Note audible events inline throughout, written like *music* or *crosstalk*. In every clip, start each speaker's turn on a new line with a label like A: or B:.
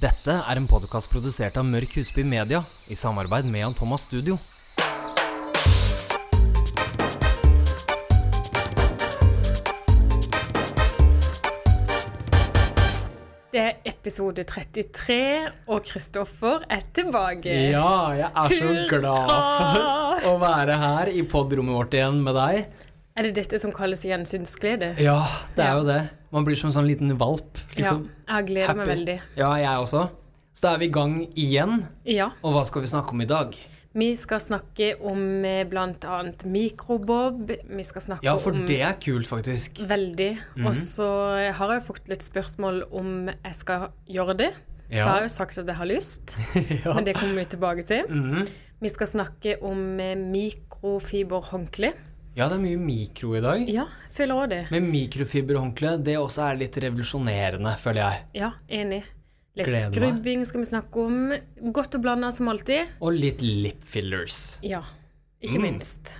A: Dette er en podkast produsert av Mørk Husby Media i samarbeid med Jan Thomas Studio.
B: Det er episode 33, og Kristoffer er tilbake.
A: Ja, jeg er så glad for å være her i podrommet vårt igjen med deg.
B: Er det dette som kalles gjensynsglede?
A: Ja, det er jo det. Man blir som en sånn liten valp. liksom.
B: jeg har gledet meg veldig.
A: Ja, jeg også. Så da er vi i gang igjen.
B: Ja.
A: Og hva skal vi snakke om i dag?
B: Vi skal snakke om eh, blant annet mikrobob. Vi skal snakke
A: Ja, for
B: om
A: det Mhm. er kult, *laughs* faktisk.
B: veldig. Og så har jeg fått litt spørsmål om jeg skal gjøre det.
A: Ja.
B: For jeg har jo sagt at jeg har lyst,
A: *laughs* Ja.
B: men det kommer vi tilbake til.
A: Mhm.
B: Vi skal snakke om eh, mikrofiberhåndkle.
A: Ja, det er mye mikro i dag.
B: Ja, jeg føler òg det.
A: Men mikrofiberhåndkle, det også er litt revolusjonerende, føler jeg.
B: Ja, enig. Litt
A: Gleder meg.
B: skrubbing skal vi snakke om. Godt og blanda som alltid.
A: Og litt lip fillers.
B: Ja, ikke
A: Mm.
B: minst.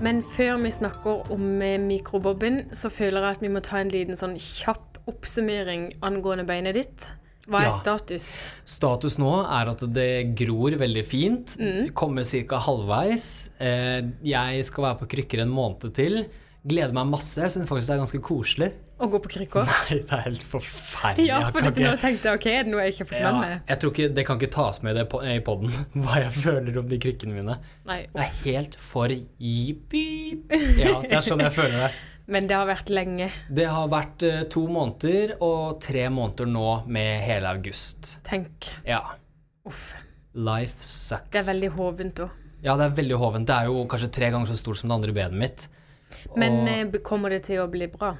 B: Men før vi snakker om eh, mikrobobben, så føler jeg at vi må ta en liten sånn kjapp oppsummering angående beinet ditt. Hva er
A: Ja.
B: status?
A: Status nå er at det gror veldig fint.
B: Mm.
A: Kommer ca. halvveis. Eh, Jeg skal være på krykker en måned til. Gleder meg masse. Jeg syns faktisk det er ganske koselig.
B: Å gå på krykker?
A: Nei, *laughs* det er helt forferdelig.
B: *laughs* Ja,
A: Jeg
B: for
A: kan
B: dette
A: ikke-
B: nå tenkte jeg ok, er det noe jeg ikke har fått med
A: ja,
B: meg?
A: jeg tror ikke, Det kan ikke tas med i det po- i poden *laughs* hva jeg føler om de krykkene mine.
B: Nei.
A: Det er helt for jippi. Ja, det er sånn jeg føler det.
B: Men det har vært lenge.
A: Det har vært eh, to måneder og tre måneder nå med hele august.
B: Tenk.
A: Ja.
B: Uff.
A: Life sucks.
B: Det er veldig hovent òg.
A: Ja, det er veldig hovent. Det er jo kanskje tre ganger så stort som det andre benet mitt.
B: Men
A: Og-
B: eh, kommer det til å bli bra?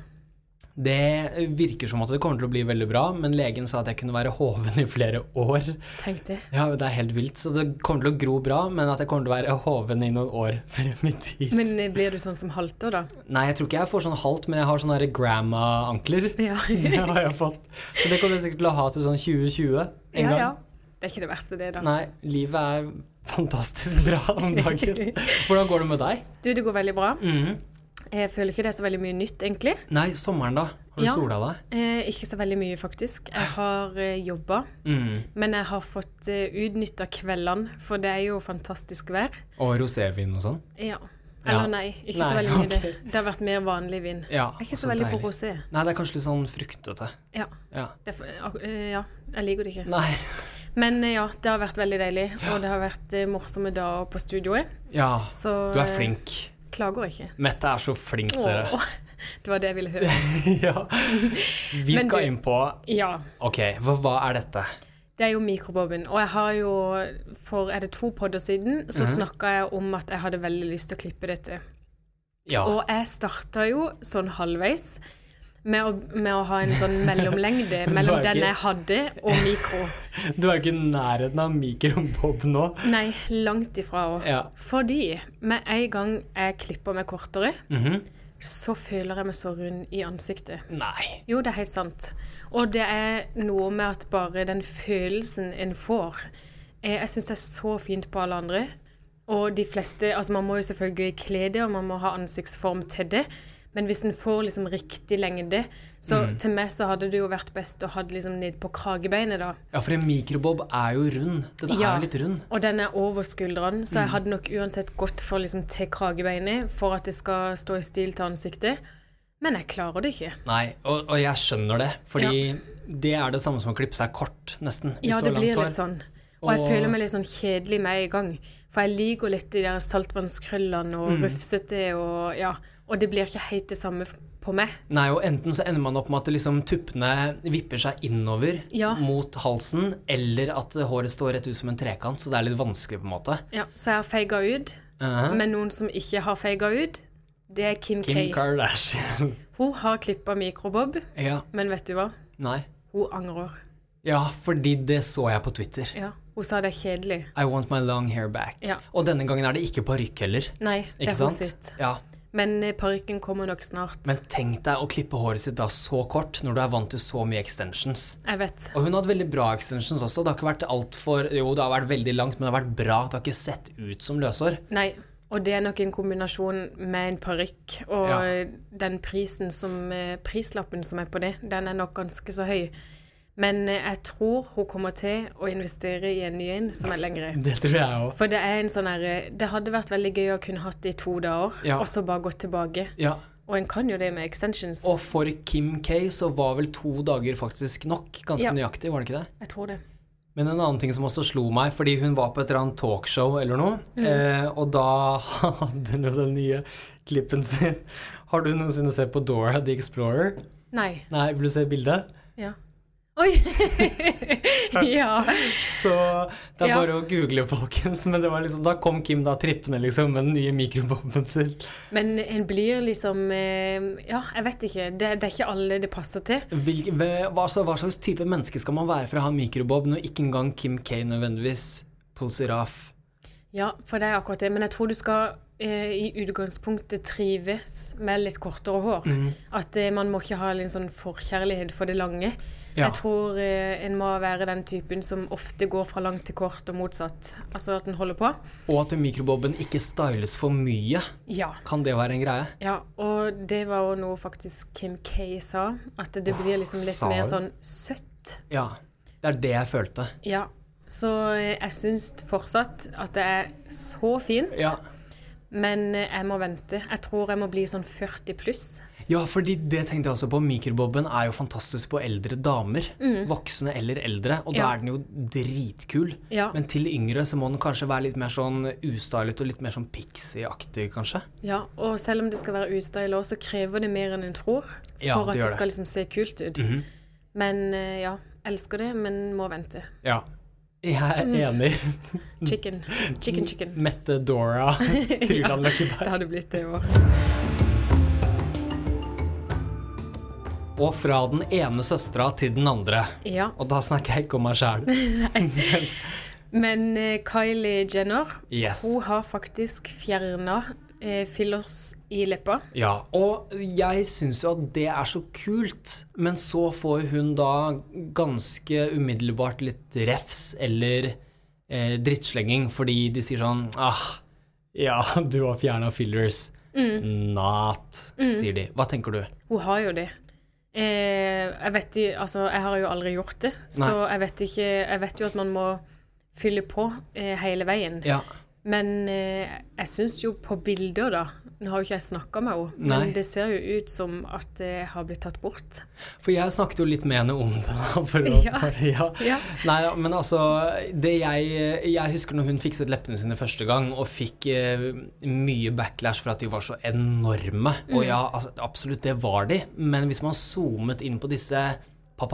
A: Det virker som at det kommer til å bli veldig bra, men legen sa at jeg kunne være hoven i flere år.
B: Tenk det.
A: Ja, det er helt vilt, så det kommer til å gro bra, men at jeg kommer til å være hoven i noen år *laughs* frem i tid.
B: Men eh, blir du sånn som halter, da?
A: Nei, jeg tror ikke jeg får sånn halvt, men jeg har sånne der grandma-ankler.
B: Ja.
A: *laughs* Det har jeg fått. Så det kommer jeg sikkert til å ha til sånn 2020 en
B: ja,
A: gang.
B: ja. Det er ikke det verste, det, da.
A: Nei, livet er fantastisk bra om dagen.
B: *laughs*
A: Hvordan går det med deg?
B: Du, det går veldig bra.
A: Mhm.
B: Jeg føler ikke det er så veldig mye nytt, egentlig.
A: Nei, sommeren da? Har du
B: Ja.
A: sola deg?
B: Eh, ikke så veldig mye, faktisk. Jeg har eh, jobba,
A: Mm.
B: men jeg har fått eh, utnytta kveldene, for det er jo fantastisk vær.
A: Og rosévin og sånn?
B: Ja.
A: Ja.
B: Eller nei, ikke så
A: Nei,
B: veldig mye.
A: ok.
B: Det Det har vært mer vanlig vin.
A: Ja,
B: Jeg er ikke så veldig på rosé.
A: Nei, det er kanskje litt sånn fruktete.
B: Ja.
A: Ja.
B: Det er for, ak- eh, ja, jeg liker det ikke.
A: Nei.
B: Men eh, ja, det har vært veldig deilig, og det har vært eh, morsomme dager på studioet.
A: Ja,
B: Så
A: du er
B: eh,
A: flink.
B: Klager ikke.
A: Mette er så flink,
B: *laughs*
A: dere.
B: Åh, det var det jeg ville
A: *laughs*
B: høre.
A: ja. Vi
B: Men
A: skal
B: du-
A: inn på
B: Ja.
A: Ok, hva, hva er dette?
B: Det er jo mikroboben. Og jeg har jo For er det to podder siden
A: Mhm.
B: så snakka jeg om at jeg hadde veldig lyst til å klippe dette.
A: Ja.
B: Og jeg starta jo sånn halvveis med å, med å ha en sånn
A: *laughs*
B: mellomlengde
A: Men du har
B: mellom
A: ikke-
B: den jeg hadde, og mikro.
A: Du er jo ikke i nærheten av mikrobob nå.
B: Nei, langt ifra òg.
A: Ja.
B: Fordi med en gang jeg klipper meg kortere,
A: Mhm.
B: så føler jeg meg så rund i ansiktet.
A: Nei.
B: Jo, det er helt sant. Og det er noe med at bare den følelsen en får eh, Jeg syns det er så fint på alle andre. Og de fleste Altså, man må jo selvfølgelig kle det, og man må ha ansiktsform til det. Men hvis en får liksom riktig lengde Så til meg så hadde det jo vært best å ha det liksom ned på kragebeinet, da.
A: Ja, for en mikrobob er jo rund. Den er
B: Ja.
A: jo litt rund.
B: Og den er over skuldrene, så jeg hadde nok uansett gått for liksom til kragebeinet for at det skal stå i stil til ansiktet. Men jeg klarer det ikke.
A: Nei, og, og jeg skjønner det, fordi det er det samme som å klippe seg kort, nesten. hvis
B: Ja,
A: du har
B: det blir
A: langt hår.
B: litt sånn. Og jeg
A: Og-
B: føler meg litt sånn kjedelig med en gang. For jeg liker litt de der saltvannskrøllene og
A: Mm.
B: rufsete og ja. Og det blir ikke helt det samme f- på meg.
A: Nei, og enten så ender man opp med at liksom tuppene vipper seg innover
B: Ja.
A: mot halsen, eller at håret står rett ut som en trekant, så det er litt vanskelig på en måte.
B: Ja, så jeg har feiga ut.
A: Uh-huh.
B: Men noen som ikke har feiga ut, det er Kim,
A: Kim
B: K.
A: Kardashian.
B: Hun har klippa mikrobob,
A: *laughs* ja,
B: men vet du hva?
A: nei.
B: Hun angrer.
A: Ja, fordi det så jeg på Twitter.
B: Ja. Hun sa det er kjedelig.
A: I want my long hair back.
B: Ja.
A: Og denne gangen er det ikke parykk heller.
B: Nei, det
A: Ikke
B: er hun
A: sant?
B: sitt.
A: Ja,
B: Men eh, parykken kommer nok snart.
A: Men tenk deg å klippe håret sitt da så kort, når du er vant til så mye extensions.
B: Jeg vet.
A: Og hun hadde veldig bra extensions også. Det har ikke vært alt for, jo, det har vært veldig langt, men det har vært bra. Det har ikke sett ut som løshår.
B: Nei. Og det er nok en kombinasjon med en parykk. Og
A: Ja.
B: den prisen som, eh, prislappen som er på det, den er nok ganske så høy. Men eh, jeg tror hun kommer til å investere i en ny en som er lengre.
A: Det tror jeg òg.
B: For det er en sånn her eh, Det hadde vært veldig gøy å kunne hatt det i to dager,
A: Ja.
B: og så bare gått tilbake.
A: Ja.
B: Og en kan jo det med extensions.
A: Og for Kim K så var vel to dager faktisk nok. Ganske
B: Ja.
A: nøyaktig, var det ikke det?
B: Jeg tror det.
A: Men en annen ting som også slo meg, fordi hun var på et eller annet talkshow eller noe,
B: Mm.
A: eh, og da hadde hun jo den nye klippen sin. Har du noensinne sett på Dora the Explorer?
B: Nei.
A: Nei, vil du se bildet?
B: Ja. Oi! *laughs* ja.
A: Så det er
B: Ja.
A: bare å google, folkens. Men det var liksom, da kom Kim da trippende liksom med den nye mikrobobben sin.
B: Men en blir liksom eh, Ja, jeg vet ikke. Det, det er ikke alle det passer til.
A: Hvil, hva, altså, hva slags type menneske skal man være for å ha mikrobob når ikke engang Kim K nødvendigvis pulser av?
B: Ja, for det er akkurat det. Men jeg tror du skal eh, i utgangspunktet trives med litt kortere hår.
A: Mm.
B: At eh, man må ikke ha en sånn forkjærlighet for det lange.
A: Ja.
B: Jeg tror eh, en må være den typen som ofte går fra langt til kort og motsatt. Altså at en holder på.
A: Og at mikrobobben ikke styles for mye.
B: Ja.
A: Kan det være en greie?
B: Ja, og det var jo noe faktisk Kim K sa. At det blir liksom litt
A: sa
B: mer
A: hun?
B: sånn søtt.
A: Ja. Det er det jeg følte.
B: Ja. Så eh, jeg syns fortsatt at det er så fint,
A: Ja.
B: men eh, jeg må vente. Jeg tror jeg må bli sånn 40 pluss.
A: Ja, fordi det tenkte jeg også på. Mikrobobben er jo fantastisk på eldre damer. Voksne eller eldre. Og da
B: Mm. Ja.
A: er den jo dritkul.
B: Ja.
A: Men til yngre så må den kanskje være litt mer sånn ustylet og litt mer sånn pixie-aktig, kanskje.
B: Ja, og selv om det skal være ustyla, så krever det mer enn en tror.
A: Ja,
B: for
A: det Mhm. gjør
B: at det
A: det.
B: skal liksom se kult ut. Men eh, ja, elsker det, men må vente.
A: Ja. Jeg er
B: Mm.
A: enig. *laughs*
B: Chicken, chicken, chicken.
A: Mette Dora
B: *laughs*
A: Truland Løkkeberg.
B: Det hadde blitt det òg.
A: Og fra den ene søstera til den andre.
B: Ja.
A: Og da snakker jeg ikke om meg sjæl.
B: *laughs* Men eh, Kylie Jenner,
A: Yes.
B: hun har faktisk fjerna eh, fillers i leppa.
A: Ja, og jeg syns jo at det er så kult, men så får hun da ganske umiddelbart litt refs eller eh, drittslenging fordi de sier sånn Ah, ja, du har fjerna fillers.
B: Mm.
A: Not, sier de. Hva tenker du?
B: Hun har jo det. Eh, jeg vet i- altså, jeg har jo aldri gjort det, så jeg vet, ikke, jeg vet jo at man må fylle på eh, hele veien.
A: Ja.
B: Men eh, jeg syns jo på bilder, da Nå har jo ikke jeg snakka med henne,
A: Nei.
B: men det ser jo ut som at det har blitt tatt bort.
A: For jeg snakket jo litt med henne om det. da, For å,
B: *laughs* Ja.
A: For, ja.
B: Ja.
A: Nei, ja, men altså det jeg, jeg husker når hun fikset leppene sine første gang og fikk eh, mye backlash for at de var så enorme. Og ja, altså, absolutt, det var de. Men hvis man zoomet inn på disse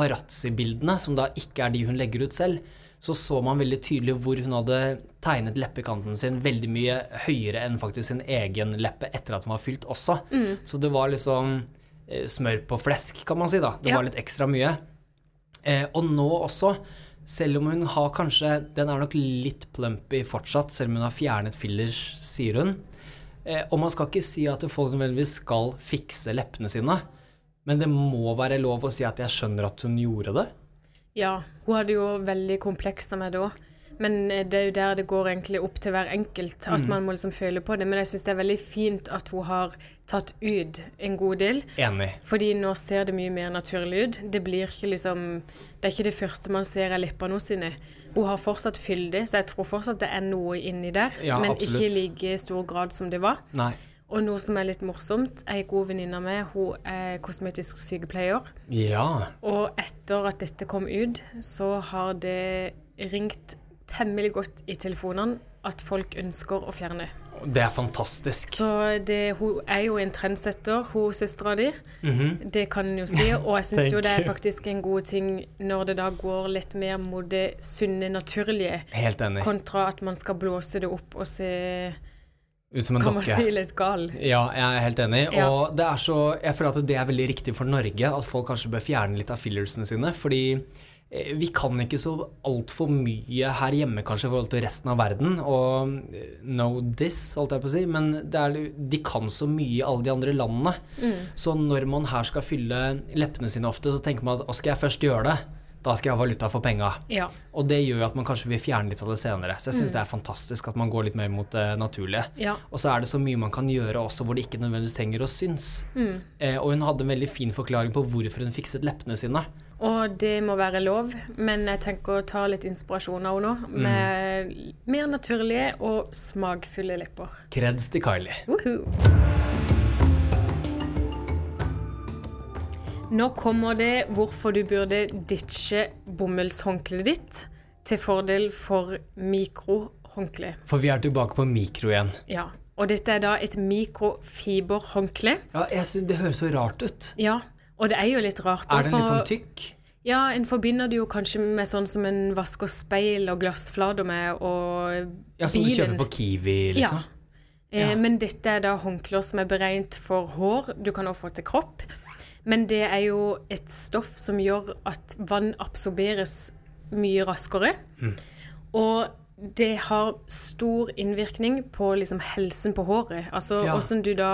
A: paparazzi-bildene, som da ikke er de hun legger ut selv, så så man veldig tydelig hvor hun hadde tegnet leppekanten sin veldig mye høyere enn faktisk sin egen leppe etter at den var fylt også. Så det var liksom eh, smør på flesk, kan man si. da. Det
B: Ja.
A: var litt ekstra mye. Eh, og nå også, selv om hun har kanskje Den er nok litt plumpy fortsatt, selv om hun har fjernet fillers, sier hun. Eh, og man skal ikke si at folk nødvendigvis skal fikse leppene sine, men det må være lov å si at jeg skjønner at hun gjorde det.
B: Ja, hun hadde jo veldig komplekser med det òg. Men eh, det er jo der det går egentlig opp til hver enkelt, at
A: Mm.
B: man må liksom føle på det. Men jeg syns det er veldig fint at hun har tatt ut en god del.
A: Enig.
B: Fordi nå ser det mye mer naturlig ut. Det blir ikke liksom Det er ikke det første man ser av leppene hennes sine. Hun har fortsatt fyldig, så jeg tror fortsatt det er noe inni der.
A: Ja,
B: men
A: absolutt.
B: ikke i like stor grad som det var.
A: Nei.
B: Og noe som er litt morsomt, ei god venninne av meg, hun er kosmetisk sykepleier.
A: Ja.
B: Og etter at dette kom ut, så har det ringt temmelig godt i telefonene at folk ønsker å fjerne.
A: Det er fantastisk.
B: Så det, hun er jo en trendsetter, hun søstera di. Det kan en jo si. Og jeg syns
A: Mhm. Thank
B: jo det er
A: you.
B: faktisk en god ting når det da går litt mer mot det sunne, naturlige,
A: Helt enig.
B: kontra at man skal blåse det opp og se
A: Ut som en
B: Kan man
A: dokke.
B: si litt gal?
A: Ja, jeg er helt enig.
B: Ja.
A: Og det er så, jeg føler at det er veldig riktig for Norge at folk kanskje bør fjerne litt av fillersene sine. Fordi eh, vi kan ikke så altfor mye her hjemme kanskje i forhold til resten av verden. Og eh, no this, holdt jeg på å si. Men det er, de kan så mye i alle de andre landene. Så når man her skal fylle leppene sine ofte, så tenker man at å, skal jeg først gjøre det? Da skal jeg ha valuta for penga.
B: Ja.
A: Og det gjør at man kanskje vil fjerne litt av det senere. Så jeg syns det er fantastisk at man går litt mer mot det naturlige.
B: Mm. Ja.
A: Og så er det så mye man kan gjøre også hvor det ikke nødvendigvis trenger å syns.
B: Mm.
A: Eh, og hun hadde en veldig fin forklaring på hvorfor hun fikset leppene sine.
B: Og det må være lov, men jeg tenker å ta litt inspirasjon av henne nå. Med
A: Mm.
B: mer naturlige og smakfulle lepper.
A: Kreds til Kylie.
B: Woohoo! Nå kommer det hvorfor du burde ditche bomullshåndkleet ditt til fordel for mikrohåndkle.
A: For vi er tilbake på mikro igjen.
B: Ja. Og dette er da et mikrofiberhåndkle.
A: Ja, jeg synes Det høres så rart ut.
B: Ja. Og det er jo litt rart. da,
A: Er den litt
B: for-
A: sånn tykk?
B: Ja, en forbinder det jo kanskje med sånn som en vasker speil og glassflater med, og
A: Ja, Som du kjøper på Kiwi, liksom?
B: Eh, Men dette er da håndklær som er beregnet for hår. Du kan også få til kropp. Men det er jo et stoff som gjør at vann absorberes mye raskere.
A: Mm.
B: Og det har stor innvirkning på liksom helsen på håret. Altså
A: Ja.
B: hvordan du da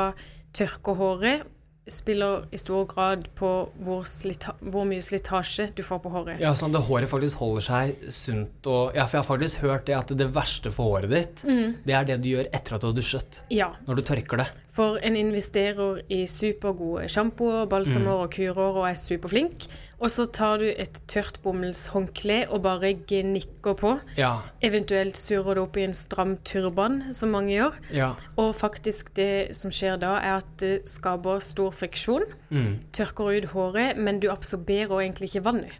B: tørker håret, spiller i stor grad på hvor, slita hvor mye slitasje du får på håret.
A: Ja, sånn at det håret faktisk holder seg sunt og Ja, for jeg har faktisk hørt det at det verste for håret ditt, det er det du gjør etter at du har dusjet.
B: Mm. ja.
A: Når du tørker det.
B: For en investerer i supergode sjampoer, balsamer
A: Mm.
B: og kurer og er superflink. Og så tar du et tørt bomullshåndkle og bare gnikker på.
A: Ja.
B: Eventuelt surrer det opp i en stram turban, som mange gjør.
A: Ja.
B: Og faktisk det som skjer da, er at det skaper stor friksjon.
A: Mm.
B: Tørker ut håret, men du absorberer egentlig ikke vannet.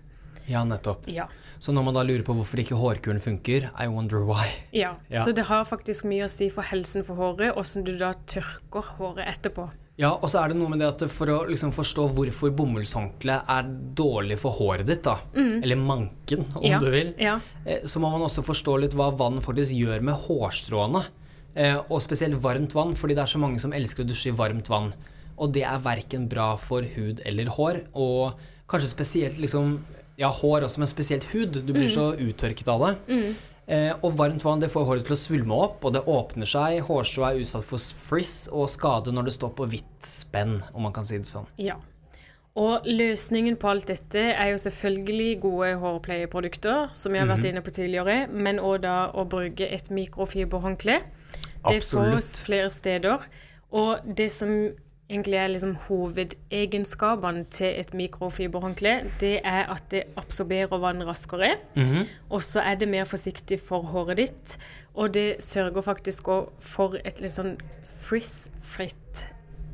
A: ja, nettopp.
B: Ja.
A: Så når man da lurer på hvorfor ikke hårkuren funker, I wonder why.
B: ja.
A: Ja.
B: Så det har faktisk mye å si for helsen for håret, åssen du da tørker håret etterpå.
A: Ja, og så er det noe med det at for å liksom forstå hvorfor bomullshåndkle er dårlig for håret ditt, da, eller manken, om
B: Ja,
A: du vil,
B: ja.
A: eh, så må man også forstå litt hva vann faktisk gjør med hårstråene. Eh, og spesielt varmt vann, fordi det er så mange som elsker å dusje i varmt vann. Og det er verken bra for hud eller hår, og kanskje spesielt liksom Ja, hår også, men spesielt hud. Du blir så uttørket av det. Eh, og varmt vann det får håret til å svulme opp, og det åpner seg. Hårstrå er utsatt for frizz og skade når det står på hvitt spenn, om man kan si det sånn.
B: Ja. Og løsningen på alt dette er jo selvfølgelig gode hårpleieprodukter, som jeg har vært inne på tidligere, men òg da å bruke et mikrofiberhåndkle. Det fås
A: Absolutt.
B: flere steder. Og det som egentlig er liksom hovedegenskapene til et mikrofiberhåndkle, det er at det absorberer vann raskere. Og så er det mer forsiktig for håret ditt. Og det sørger faktisk òg for et litt sånn frizz-fritt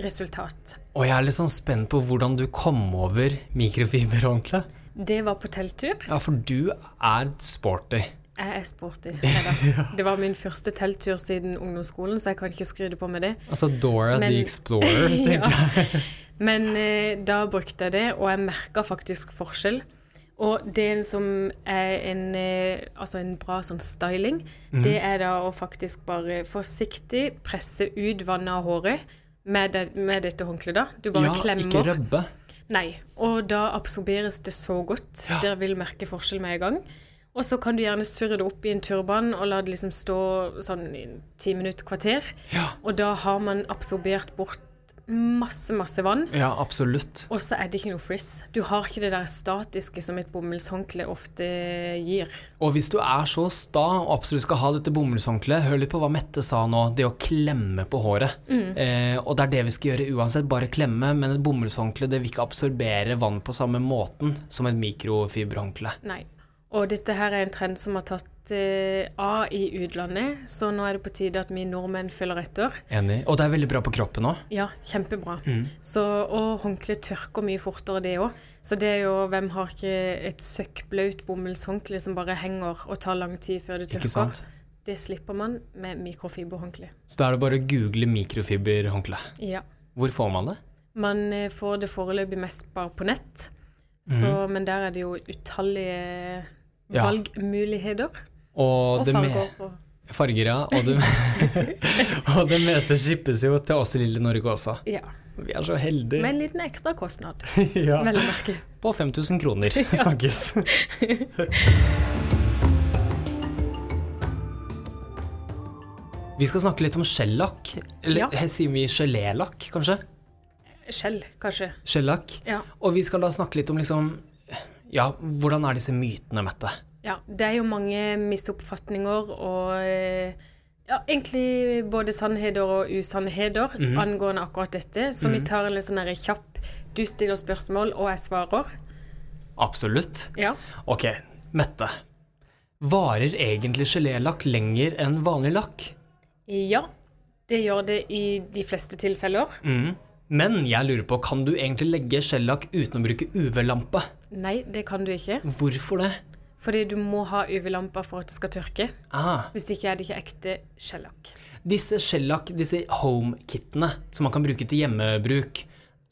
B: resultat.
A: Og jeg er litt sånn spent på hvordan du kom over mikrofiberhåndkle.
B: Det var på telttur.
A: Ja, for du er sporty.
B: Jeg er
A: *laughs*
B: sporty. Neida. Det var min første telttur siden ungdomsskolen, så jeg kan ikke skryte på med det.
A: Altså Dora
B: Men-
A: the
B: *laughs*
A: Explorer, tenker jeg.
B: Men eh, da brukte jeg det, og jeg merka faktisk forskjell. Og det som er en, eh, altså en bra sånn styling,
A: Mhm.
B: det er da å faktisk bare forsiktig presse ut vannet av håret med, det, med dette håndkleet. da. Du bare
A: Ja, ikke
B: klemmer.
A: røbbe.
B: Nei, og da absorberes det så godt. Dere vil merke forskjell med en gang. Og så kan du gjerne surre det opp i en turban og la det liksom stå sånn i ti minutter, kvarter.
A: Ja.
B: Og da har man absorbert bort masse, masse vann.
A: Ja, absolutt.
B: Og så er det ikke noe frizz. Du har ikke det der statiske som et bomullshåndkle ofte gir.
A: Og hvis du er så sta og absolutt skal ha dette bomullshåndkleet, hør litt på hva Mette sa nå, det å klemme på håret.
B: Mm.
A: Eh, og det er det vi skal gjøre uansett, bare klemme, men et bomullshåndkle det vil ikke absorbere vann på samme måten som et mikrofiberhåndkle.
B: Nei. Og dette her er en trend som har tatt eh, av i utlandet, så nå er det på tide at vi nordmenn følger etter.
A: Enig. Og det er veldig bra på kroppen òg.
B: Ja, kjempebra.
A: Mm.
B: Så, og håndkle tørker mye fortere, det òg. Så det er jo Hvem har ikke et søkkblaut bomullshåndkle som bare henger og tar lang tid før det
A: Ikke
B: tørker?
A: sant?
B: Det slipper man med mikrofiberhåndkle.
A: Så da er det bare å google mikrofiberhåndkle.
B: Ja.
A: Hvor får man det?
B: Man eh, får det foreløpig mest bare på nett, så, men der er det jo utallige
A: Mm. Ja.
B: valgmuligheter.
A: Og,
B: Og
A: det me-
B: farger. og-
A: Farger, ja. Og det, *laughs* og det meste skippes jo til oss i lille Norge også.
B: Ja.
A: Vi er så heldige.
B: Med en liten ekstra kostnad,
A: *laughs* ja.
B: vel å merke.
A: På 5000 kroner
B: *laughs*
A: snakkes. Vi skal snakke litt om skjellakk. Eller
B: Ja.
A: he- sier vi gelélakk, kanskje?
B: Skjell, kanskje.
A: Skjellakk.
B: Ja.
A: Og vi skal da snakke litt om liksom Ja, hvordan er disse mytene, Mette?
B: Ja, det er jo mange misoppfatninger og eh, ja, egentlig både sannheter og usannheter angående akkurat dette. Så vi tar en litt sånn her kjapp Du stiller spørsmål, og jeg svarer.
A: Absolutt.
B: Ja.
A: Ok, Mette. Varer egentlig gelélakk lenger enn vanlig lakk?
B: ja. Det gjør det i de fleste tilfeller.
A: Mm. Men jeg lurer på, kan du egentlig legge gelélakk uten å bruke UV-lampe?
B: Nei, det kan du ikke.
A: Hvorfor det?
B: Fordi du må ha UV-lamper for at det skal tørke.
A: Ah,
B: Hvis ikke er det ikke ekte skjellakk.
A: disse gelélakk, disse home-kittene som man kan bruke til hjemmebruk,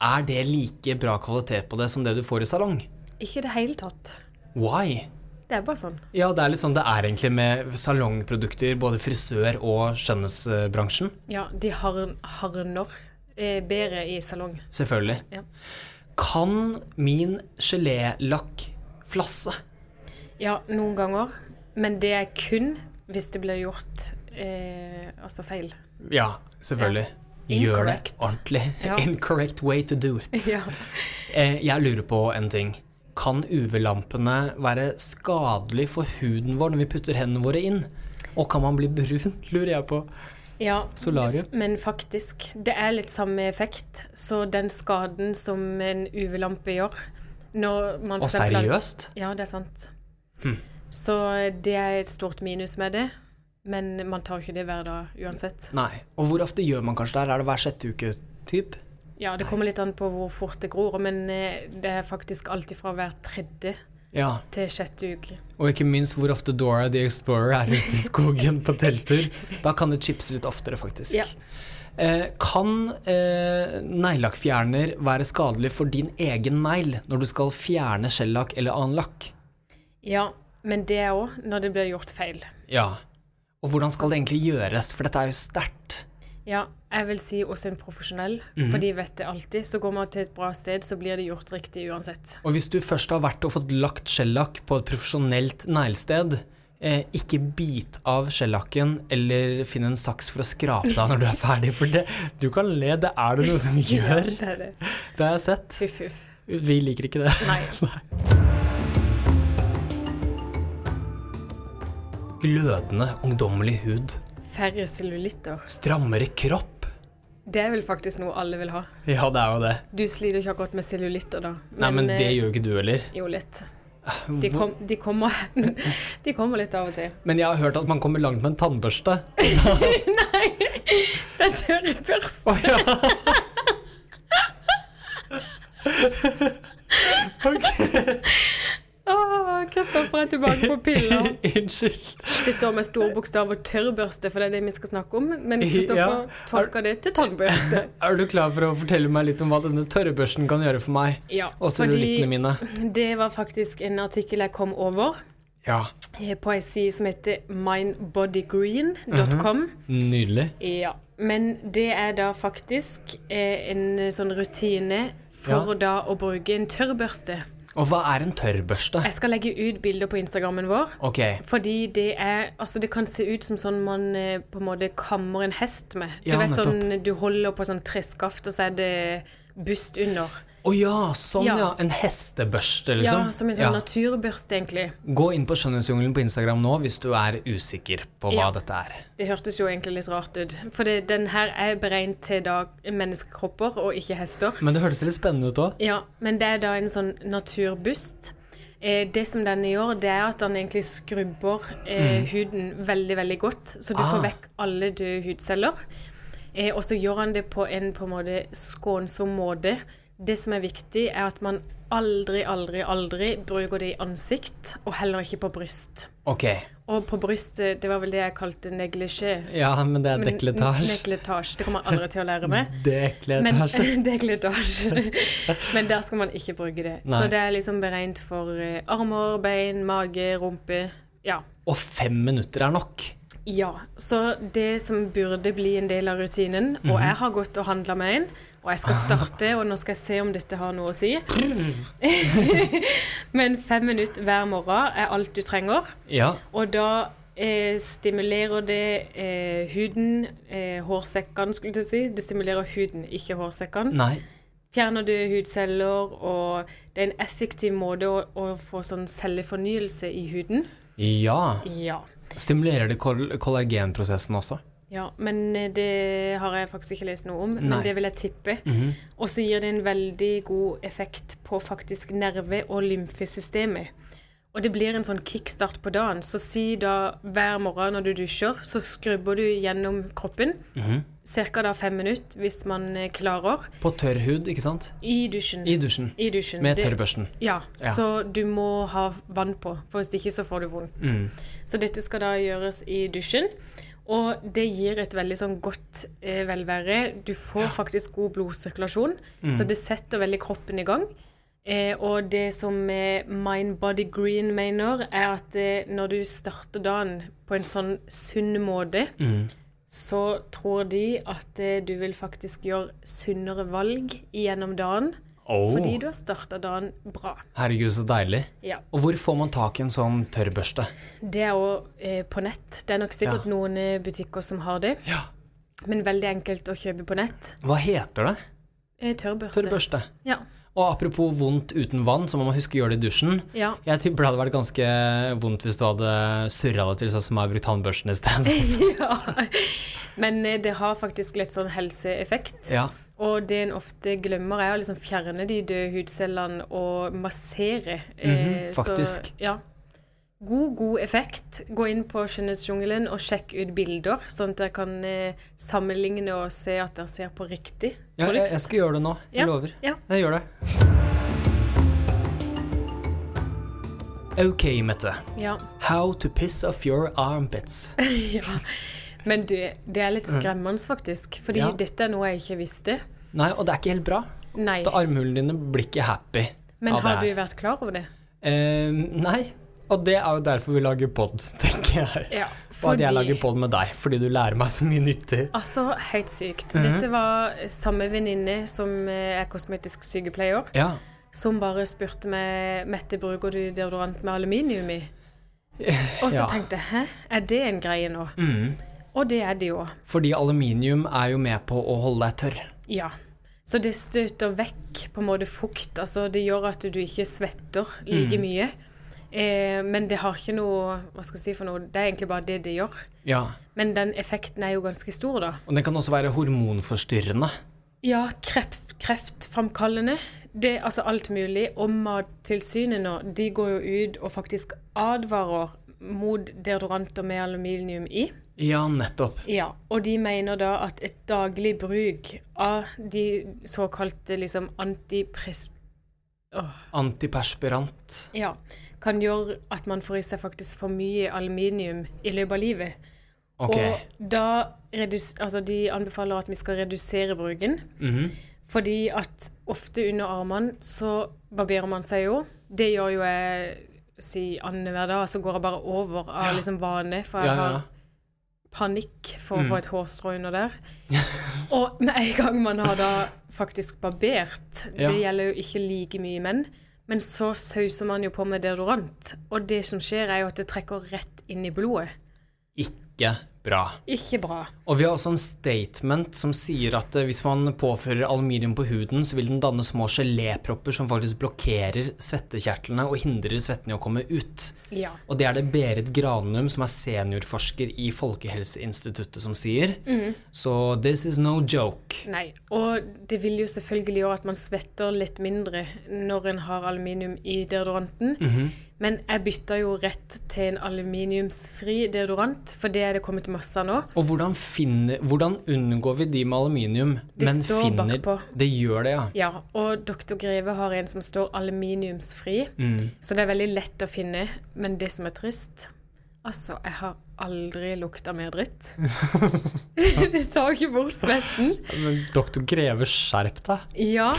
A: er det like bra kvalitet på det som det du får i salong?
B: Ikke i det hele tatt.
A: Why?
B: Det er bare sånn.
A: Ja, det er litt sånn det er egentlig med salongprodukter, både frisør- og skjønnhetsbransjen.
B: Ja, de harn- harner eh, bedre i salong.
A: Selvfølgelig.
B: Ja.
A: Kan min gelélakk flasse?
B: Ja, noen ganger. Men det er kun hvis det blir gjort eh, altså feil. *laughs*
A: Ja, selvfølgelig. Gjør det
B: Incorrect.
A: ordentlig.
B: Ja.
A: *laughs* Incorrect way to do it.
B: ja.
A: Eh, jeg lurer på en ting. Kan UV-lampene være skadelig for huden vår når vi putter hendene våre inn? Og kan man bli brun, *laughs* lurer jeg på.
B: ja.
A: Solarium.
B: Men faktisk, det er litt samme effekt. Så den skaden som en UV-lampe gjør når man
A: Og
B: for eksempel har-
A: seriøst? Hm.
B: Ja, det er sant. Så det er et stort minus med det. Men man tar ikke det hver dag uansett.
A: Nei. Og hvor ofte gjør man kanskje det her? Er det hver sjette uke? Typ?
B: Ja, Det kommer litt an på hvor fort det gror, men eh, det er faktisk alt fra hver tredje
A: Ja.
B: til sjette uke.
A: Og ikke minst hvor ofte Dora the Explorer er ute i skogen på telttur. *laughs* Da kan det chipse litt oftere, faktisk.
B: Ja.
A: Eh, kan eh, neglelakkfjerner være skadelig for din egen negl når du skal fjerne skjellakk eller annen lakk?
B: Ja, men det er òg når det blir gjort feil.
A: Ja. Og hvordan skal det egentlig gjøres, for dette er jo sterkt.
B: Ja, jeg vil si hos en profesjonell,
A: Mhm.
B: for de vet det alltid. Så går man til et bra sted, så blir det gjort riktig uansett.
A: Og hvis du først har vært og fått lagt skjellakk på et profesjonelt neglested, eh, ikke bit av skjellakken eller finn en saks for å skrape deg når du er ferdig, for det, du kan le, det er det noe som gjør.
B: Det er det.
A: Det har jeg sett.
B: Huff, huff.
A: Vi liker ikke det. *laughs*
B: Nei.
A: Glødende, ungdommelig hud.
B: Færre cellulitter.
A: Strammere kropp.
B: Det er vel faktisk noe alle vil ha.
A: Ja, det er jo det.
B: Du sliter ikke akkurat med cellulitter, da.
A: Nei, men det
B: eh,
A: gjør jo ikke du heller.
B: jo litt. De, kom, de, kommer, *laughs* de kommer litt av og til.
A: Men jeg har hørt at man kommer langt med en tannbørste.
B: Det er tørrbørst.
A: *laughs*
B: Åh, Ah, Kristoffer er tilbake på
A: *laughs*
B: piller.
A: *laughs* Unnskyld.
B: Det står med store bokstaver 'tørrbørste', for det er det vi skal snakke om. Men Kristoffer
A: Ja.
B: tolker det til tannbørste.
A: Er du klar for å fortelle meg litt om hva denne tørrebørsten kan gjøre for meg?
B: Ja,
A: Og cellulittene mine.
B: det var faktisk en artikkel jeg kom over
A: Ja.
B: eh, på ei side som heter mindbodygreen.com.
A: Mhm. Nydelig.
B: Ja, Men det er da faktisk eh, en sånn rutine for
A: Ja.
B: da å bruke en tørrbørste.
A: Og hva er en tørrbørste?
B: Jeg skal legge ut bilder på Instagrammen vår.
A: Ok.
B: Fordi det er Altså, det kan se ut som sånn man eh, på en måte kammer en hest med. Du
A: Ja,
B: vet
A: nettopp.
B: sånn du holder på sånn treskaft, og så er det bust under.
A: Å ja, sånn ja.
B: Ja.
A: En hestebørste,
B: Ja,
A: liksom.
B: som en sånn naturbørste, egentlig.
A: Gå inn på Skjønnhetsjungelen på Instagram nå hvis du er usikker på hva
B: Ja.
A: dette er.
B: Det hørtes jo egentlig litt rart ut. For det, den her er beregnet til da menneskekropper, og ikke hester.
A: Men det hørtes litt spennende ut òg.
B: Ja, men det er da en sånn naturbust. Eh, det som denne gjør, det er at den egentlig skrubber eh, huden veldig, veldig godt. Så du
A: Ah.
B: får vekk alle døde hudceller. Eh, og så gjør han det på en på en måte skånsom måte. Det som er viktig, er at man aldri, aldri, aldri bruker det i ansikt, og heller ikke på bryst.
A: Ok.
B: Og på brystet, det var vel det jeg kalte neglisjé.
A: Ja, men det er
B: Men
A: dekletasje.
B: Dekletasje. Det kommer jeg aldri til å
A: *laughs*
B: lære meg. Men,
A: Dekletasje.
B: *laughs* dekletasje. *laughs* Men der skal man ikke bruke det.
A: Nei.
B: Så det er liksom beregnet for eh, armer, bein, mage, rumpe. Ja.
A: Og fem minutter er nok.
B: ja. Så det som burde bli en del av rutinen, og jeg har gått og handla med en, og jeg skal starte, og nå skal jeg se om dette har noe å si *laughs* Men fem minutter hver morgen er alt du trenger,
A: Ja.
B: og da Eh, stimulerer det eh, huden, eh, hårsekkene, skulle jeg til å si. Det stimulerer huden, ikke hårsekkene.
A: Nei.
B: fjerner du hudceller, og det er en effektiv måte å, å få sånn cellefornyelse i huden.
A: Ja.
B: Ja.
A: Stimulerer det koll- kollagenprosessen også?
B: ja. Men eh, det har jeg faktisk ikke lest noe om,
A: Nei. Mhm.
B: men det vil jeg tippe. Og så gir det en veldig god effekt på faktisk nerve- og lymfesystemet. Og det blir en sånn kickstart på dagen. Så si da hver morgen når du dusjer, så skrubber du gjennom kroppen.
A: Mhm.
B: Cirka da fem minutter, hvis man eh, klarer,
A: På tørr hud, ikke sant?
B: i dusjen.
A: I dusjen.
B: I dusjen.
A: Med
B: Det-
A: tørrbørsten.
B: Ja,
A: Ja.
B: så du må ha vann på, for hvis ikke så får du vondt. Så dette skal da gjøres i dusjen. Og det gir et veldig sånn godt eh, velvære. Du får faktisk god blodsirkulasjon, så det setter veldig kroppen i gang. Eh, og det som eh, Mind Body Green mener, er at eh, når du starter dagen på en sånn sunn måte, så tror de at eh, du vil faktisk gjøre sunnere valg gjennom dagen.
A: Oh.
B: Fordi du har starta dagen bra.
A: Herregud, så deilig.
B: Ja.
A: Og hvor får man tak i en sånn tørrbørste?
B: Det er jo eh, på nett. Det er nok sikkert
A: Ja.
B: noen eh, butikker som har det,
A: Ja.
B: men veldig enkelt å kjøpe på nett.
A: Hva heter det?
B: Eh, tørrbørste.
A: Tørrbørste.
B: Ja.
A: Og apropos vondt uten vann, så må man huske å gjøre det i dusjen.
B: Ja.
A: Jeg tipper det hadde vært ganske vondt hvis du hadde surra det til sånn som jeg har brukt tannbørsten i stedet.
B: *laughs* ja. Men eh, det har faktisk litt sånn helseeffekt.
A: Ja.
B: Og det en ofte glemmer, er å liksom fjerne de døde hudcellene og massere. Eh,
A: Mhm, faktisk.
B: Så, ja. God, god effekt. Gå inn på Skjønnhetsjungelen og sjekk ut bilder, sånn at dere kan eh, sammenligne og se at dere ser på riktig
A: Ja, jeg, jeg skal gjøre det nå. Jeg
B: Ja,
A: lover.
B: ja.
A: Jeg gjør det. Ok, Mette.
B: Ja.
A: How to piss off your armpits.
B: *laughs* ja. Men du, det er litt skremmende faktisk, fordi
A: Mm. Ja.
B: dette er noe jeg ikke visste.
A: Nei, og det er ikke helt bra.
B: Nei,
A: Da armhulene dine blir ikke happy.
B: men
A: av det
B: har du
A: her.
B: vært klar over det?
A: Eh, nei, og det er jo derfor vi lager pod, *laughs* tenker jeg.
B: Ja,
A: Og at jeg
B: fordi-
A: lager pod med deg, fordi du lærer meg så mye nyttig.
B: Altså, helt sykt.
A: Mhm.
B: Dette var samme venninne som eh, er kosmetisk sykepleier,
A: Ja.
B: som bare spurte meg Mette, bruker du deodorant med aluminium i?
A: *laughs*
B: Og så
A: Ja. Mm.
B: tenkte jeg, hæ, er det en greie nå? Og det er det jo.
A: Fordi aluminium er jo med på å holde deg tørr.
B: Ja. Så det støter vekk på en måte fukt. Altså, det gjør at du ikke svetter like mye. Eh, men det har ikke noe Hva skal jeg si for noe? Det er egentlig bare det det gjør.
A: Ja.
B: Men den effekten er jo ganske stor, da.
A: Og den kan også være hormonforstyrrende.
B: Ja, kreft, kreftframkallende. Det, altså alt mulig. Og Mattilsynet nå, de går jo ut og faktisk advarer mot deodoranter med aluminium i.
A: Ja, nettopp.
B: Ja, og de mener da at et daglig bruk av de såkalte liksom antipres... Åh,
A: Antiperspirant.
B: ja, kan gjøre at man får i seg faktisk for mye aluminium i løpet av livet.
A: Ok.
B: Og da redus, altså de anbefaler at vi skal redusere bruken.
A: Mhm.
B: Fordi at ofte under armene så barberer man seg jo. Det gjør jo jeg si annenhver dag, så går jeg bare over av liksom vane, for jeg
A: Ja, ja, ja.
B: har panikk for å få et hårstrå under der. *laughs* Og med en gang man har da faktisk barbert,
A: Ja.
B: det gjelder jo ikke like mye menn, men så sauser man jo på med deodorant. Og det som skjer, er jo at det trekker rett inn i blodet.
A: Ikke bra.
B: Ikke bra.
A: Og vi har også en statement som sier at eh, hvis man påfører aluminium på huden, så vil den danne små gelépropper som faktisk blokkerer svettekjertlene og hindrer svetten i å komme ut.
B: Ja.
A: Og det er det Berit Granum, som er seniorforsker i Folkehelseinstituttet, som sier.
B: Mhm.
A: Så this is no joke.
B: Nei. Og det vil jo selvfølgelig gjøre at man svetter litt mindre når en har aluminium i deodoranten. Men jeg bytta jo rett til en aluminiumsfri deodorant, for det er det kommet masse av nå.
A: Og hvordan, finner, hvordan unngår vi de med aluminium,
B: Det står
A: finner
B: bakpå.
A: Det gjør det, ja.
B: Ja, og Dr. Greve har en som står aluminiumsfri,
A: Mm.
B: så det er veldig lett å finne. Men det som er trist Altså, jeg har aldri lukta mer
A: *laughs*
B: dritt. det tar ikke bort svetten.
A: Men doktor Greve, skjerp deg. *laughs*
B: Ja,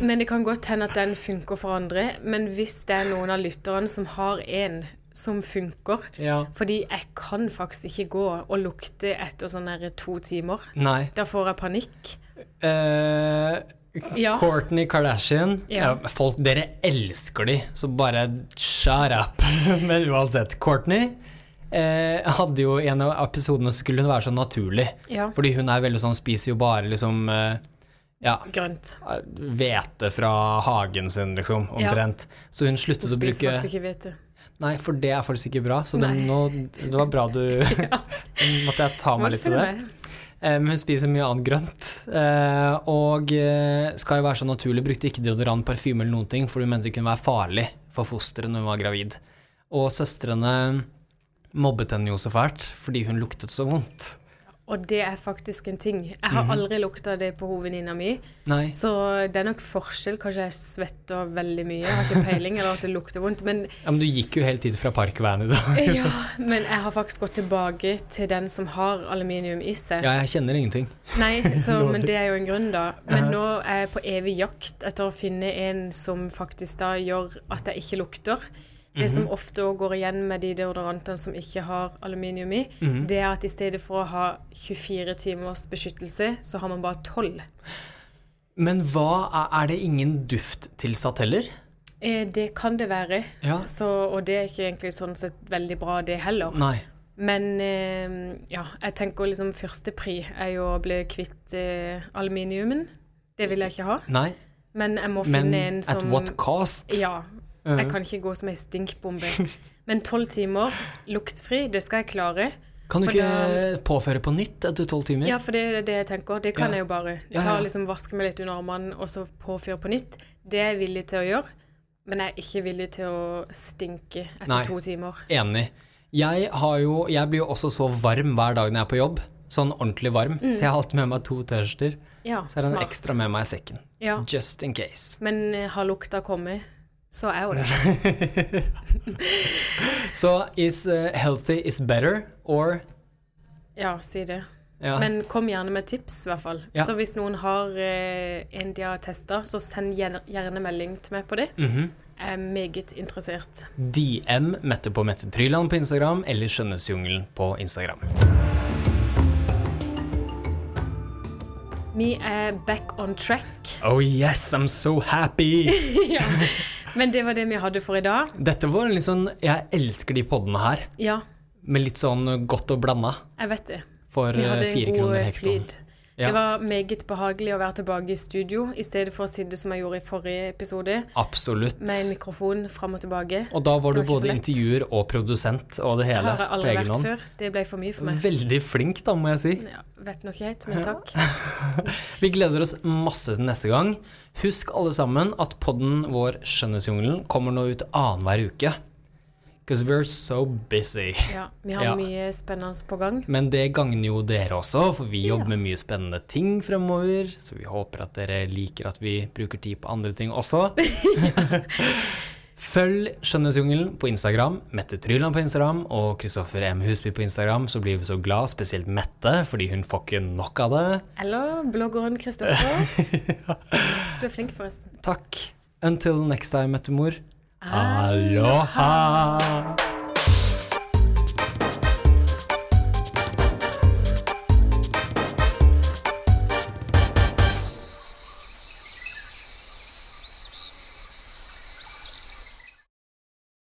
B: men det kan godt hende at den funker for andre. Men hvis det er noen av lytterne som har en som funker
A: Ja.
B: Fordi jeg kan faktisk ikke gå og lukte etter sånn her to timer.
A: Nei.
B: Da får jeg panikk.
A: Eh,
B: Ja.
A: Kourtney Kardashian.
B: Ja.
A: Ja, folk, dere elsker de, så bare shut up. *laughs* Men uansett, Kourtney eh, hadde jo i en av episodene så skulle hun være så naturlig.
B: Ja.
A: Fordi hun er veldig sånn, spiser jo bare liksom eh, Ja.
B: grønt.
A: Hvete fra hagen sin, liksom,
B: Ja.
A: omtrent. Så hun sluttet
B: Hun
A: å
B: spiser
A: bruke
B: faktisk ikke hvete.
A: Nei, for det er faktisk ikke bra, så det,
B: Nei.
A: nå, det var bra du
B: *laughs*
A: Måtte jeg ta
B: Må
A: meg
B: du
A: litt til
B: følge
A: det.
B: med?
A: Eh, Men hun spiser mye annet grønt. eh, Og eh, skal jo være så naturlig, brukte ikke deodorant, parfyme eller noen ting, for hun mente det kunne være farlig for fosteret når hun var gravid. Og søstrene mobbet henne jo så fælt fordi hun luktet så vondt.
B: Og det er faktisk en ting. Jeg har aldri lukta det på hovedvenninna mi.
A: Nei.
B: Så det er nok forskjell. Kanskje jeg svetter veldig mye, jeg har ikke peiling, eller at det lukter vondt. Men,
A: Ja, men du gikk jo hele tiden fra parkveien i dag.
B: ja, men jeg har faktisk gått tilbake til den som har aluminium i seg.
A: Ja, jeg kjenner ingenting.
B: Nei, så, men det er jo en grunn, da. Men nå er jeg på evig jakt etter å finne en som faktisk da gjør at jeg ikke lukter. Det som ofte også går igjen med de deodorantene som ikke har aluminium i, det er at i stedet for å ha 24 timers beskyttelse, så har man bare 12.
A: Men hva er, er det ingen duft tilsatt heller?
B: Eh, Det kan det være.
A: Ja.
B: Så, og det er ikke egentlig sånn sett veldig bra, det heller.
A: Nei.
B: Men eh, ja, jeg tenker liksom førstepri er jo å bli kvitt eh, aluminiumen. Det vil jeg ikke ha.
A: Nei.
B: Men jeg må
A: Men
B: finne en som
A: at what cost?
B: Ja. Jeg kan ikke gå som ei stinkbombe. Men tolv timer luktfri, det skal jeg klare.
A: Kan du
B: For
A: ikke påføre på nytt etter tolv timer?
B: Ja, for det er det jeg tenker. Det kan
A: Ja.
B: jeg jo bare.
A: Ja,
B: Ta
A: ja.
B: liksom Vaske meg litt under armene og så påfyre på nytt. Det er jeg villig til å gjøre. Men jeg er ikke villig til å stinke etter
A: Nei.
B: to timer.
A: Enig. Jeg, har jo, jeg blir jo også så varm hver dag når jeg er på jobb. Sånn ordentlig varm. Så jeg har alltid med meg to T-skjorter.
B: Ja,
A: Så er det en
B: Mm. smart.
A: ekstra med meg i sekken.
B: Ja.
A: Just in case.
B: Men eh, har lukta kommet, så er jo det.
A: Så is eh, healthy is better or
B: Ja, si det.
A: ja.
B: Men kom gjerne med tips, i hvert fall.
A: Ja.
B: Så hvis noen har eh, en de har testa, så send gjer- gjerne melding til meg på det.
A: Mhm.
B: Jeg er meget interessert.
A: DM Mette på Mette Tryland på Instagram eller Skjønnhetsjungelen på Instagram.
B: Vi er back on track. *laughs*
A: Oh yes, I'm so happy!
B: Men det var det vi hadde for i dag.
A: Dette var en litt sånn Jeg elsker de poddene her,
B: Ja,
A: med litt sånn godt og blanda
B: jeg vet det.
A: for
B: Vi
A: eh,
B: hadde en
A: fire
B: god
A: kroner
B: eh,
A: hektoen.
B: flyd.
A: Ja.
B: Det var meget behagelig å være tilbake i studio, i stedet for å sitte som jeg gjorde i forrige episode,
A: Absolutt.
B: med en mikrofon fram og tilbake.
A: Og da var du
B: Det var ikke så
A: både
B: lett.
A: intervjuer og produsent og det hele
B: Har jeg
A: på
B: aldri
A: egen
B: vært
A: hånd.
B: før. Det ble for mye for meg.
A: Veldig flink, da, må jeg si.
B: Ja, vet nok ikke helt, men takk.
A: Vi gleder oss masse til neste gang. Husk alle sammen at podden vår Skjønnhetsjungelen kommer nå ut annenhver uke. Because we're so busy.
B: Ja, vi har
A: Ja.
B: mye spennende på gang.
A: Men det gagner jo dere også, for vi jobber med mye spennende ting fremover. Så vi håper at dere liker at vi bruker tid på andre ting også. *laughs* Følg Skjønnhetsjungelen på Instagram, Mette Tryland på Instagram og Kristoffer M. Husby på Instagram, så blir vi så glad, spesielt Mette, fordi hun får ikke nok av det.
B: Eller bloggeren
A: *laughs*
B: Kristoffer. Du er flink, forresten.
A: Takk. Until next time, Mette-mor. Aloha!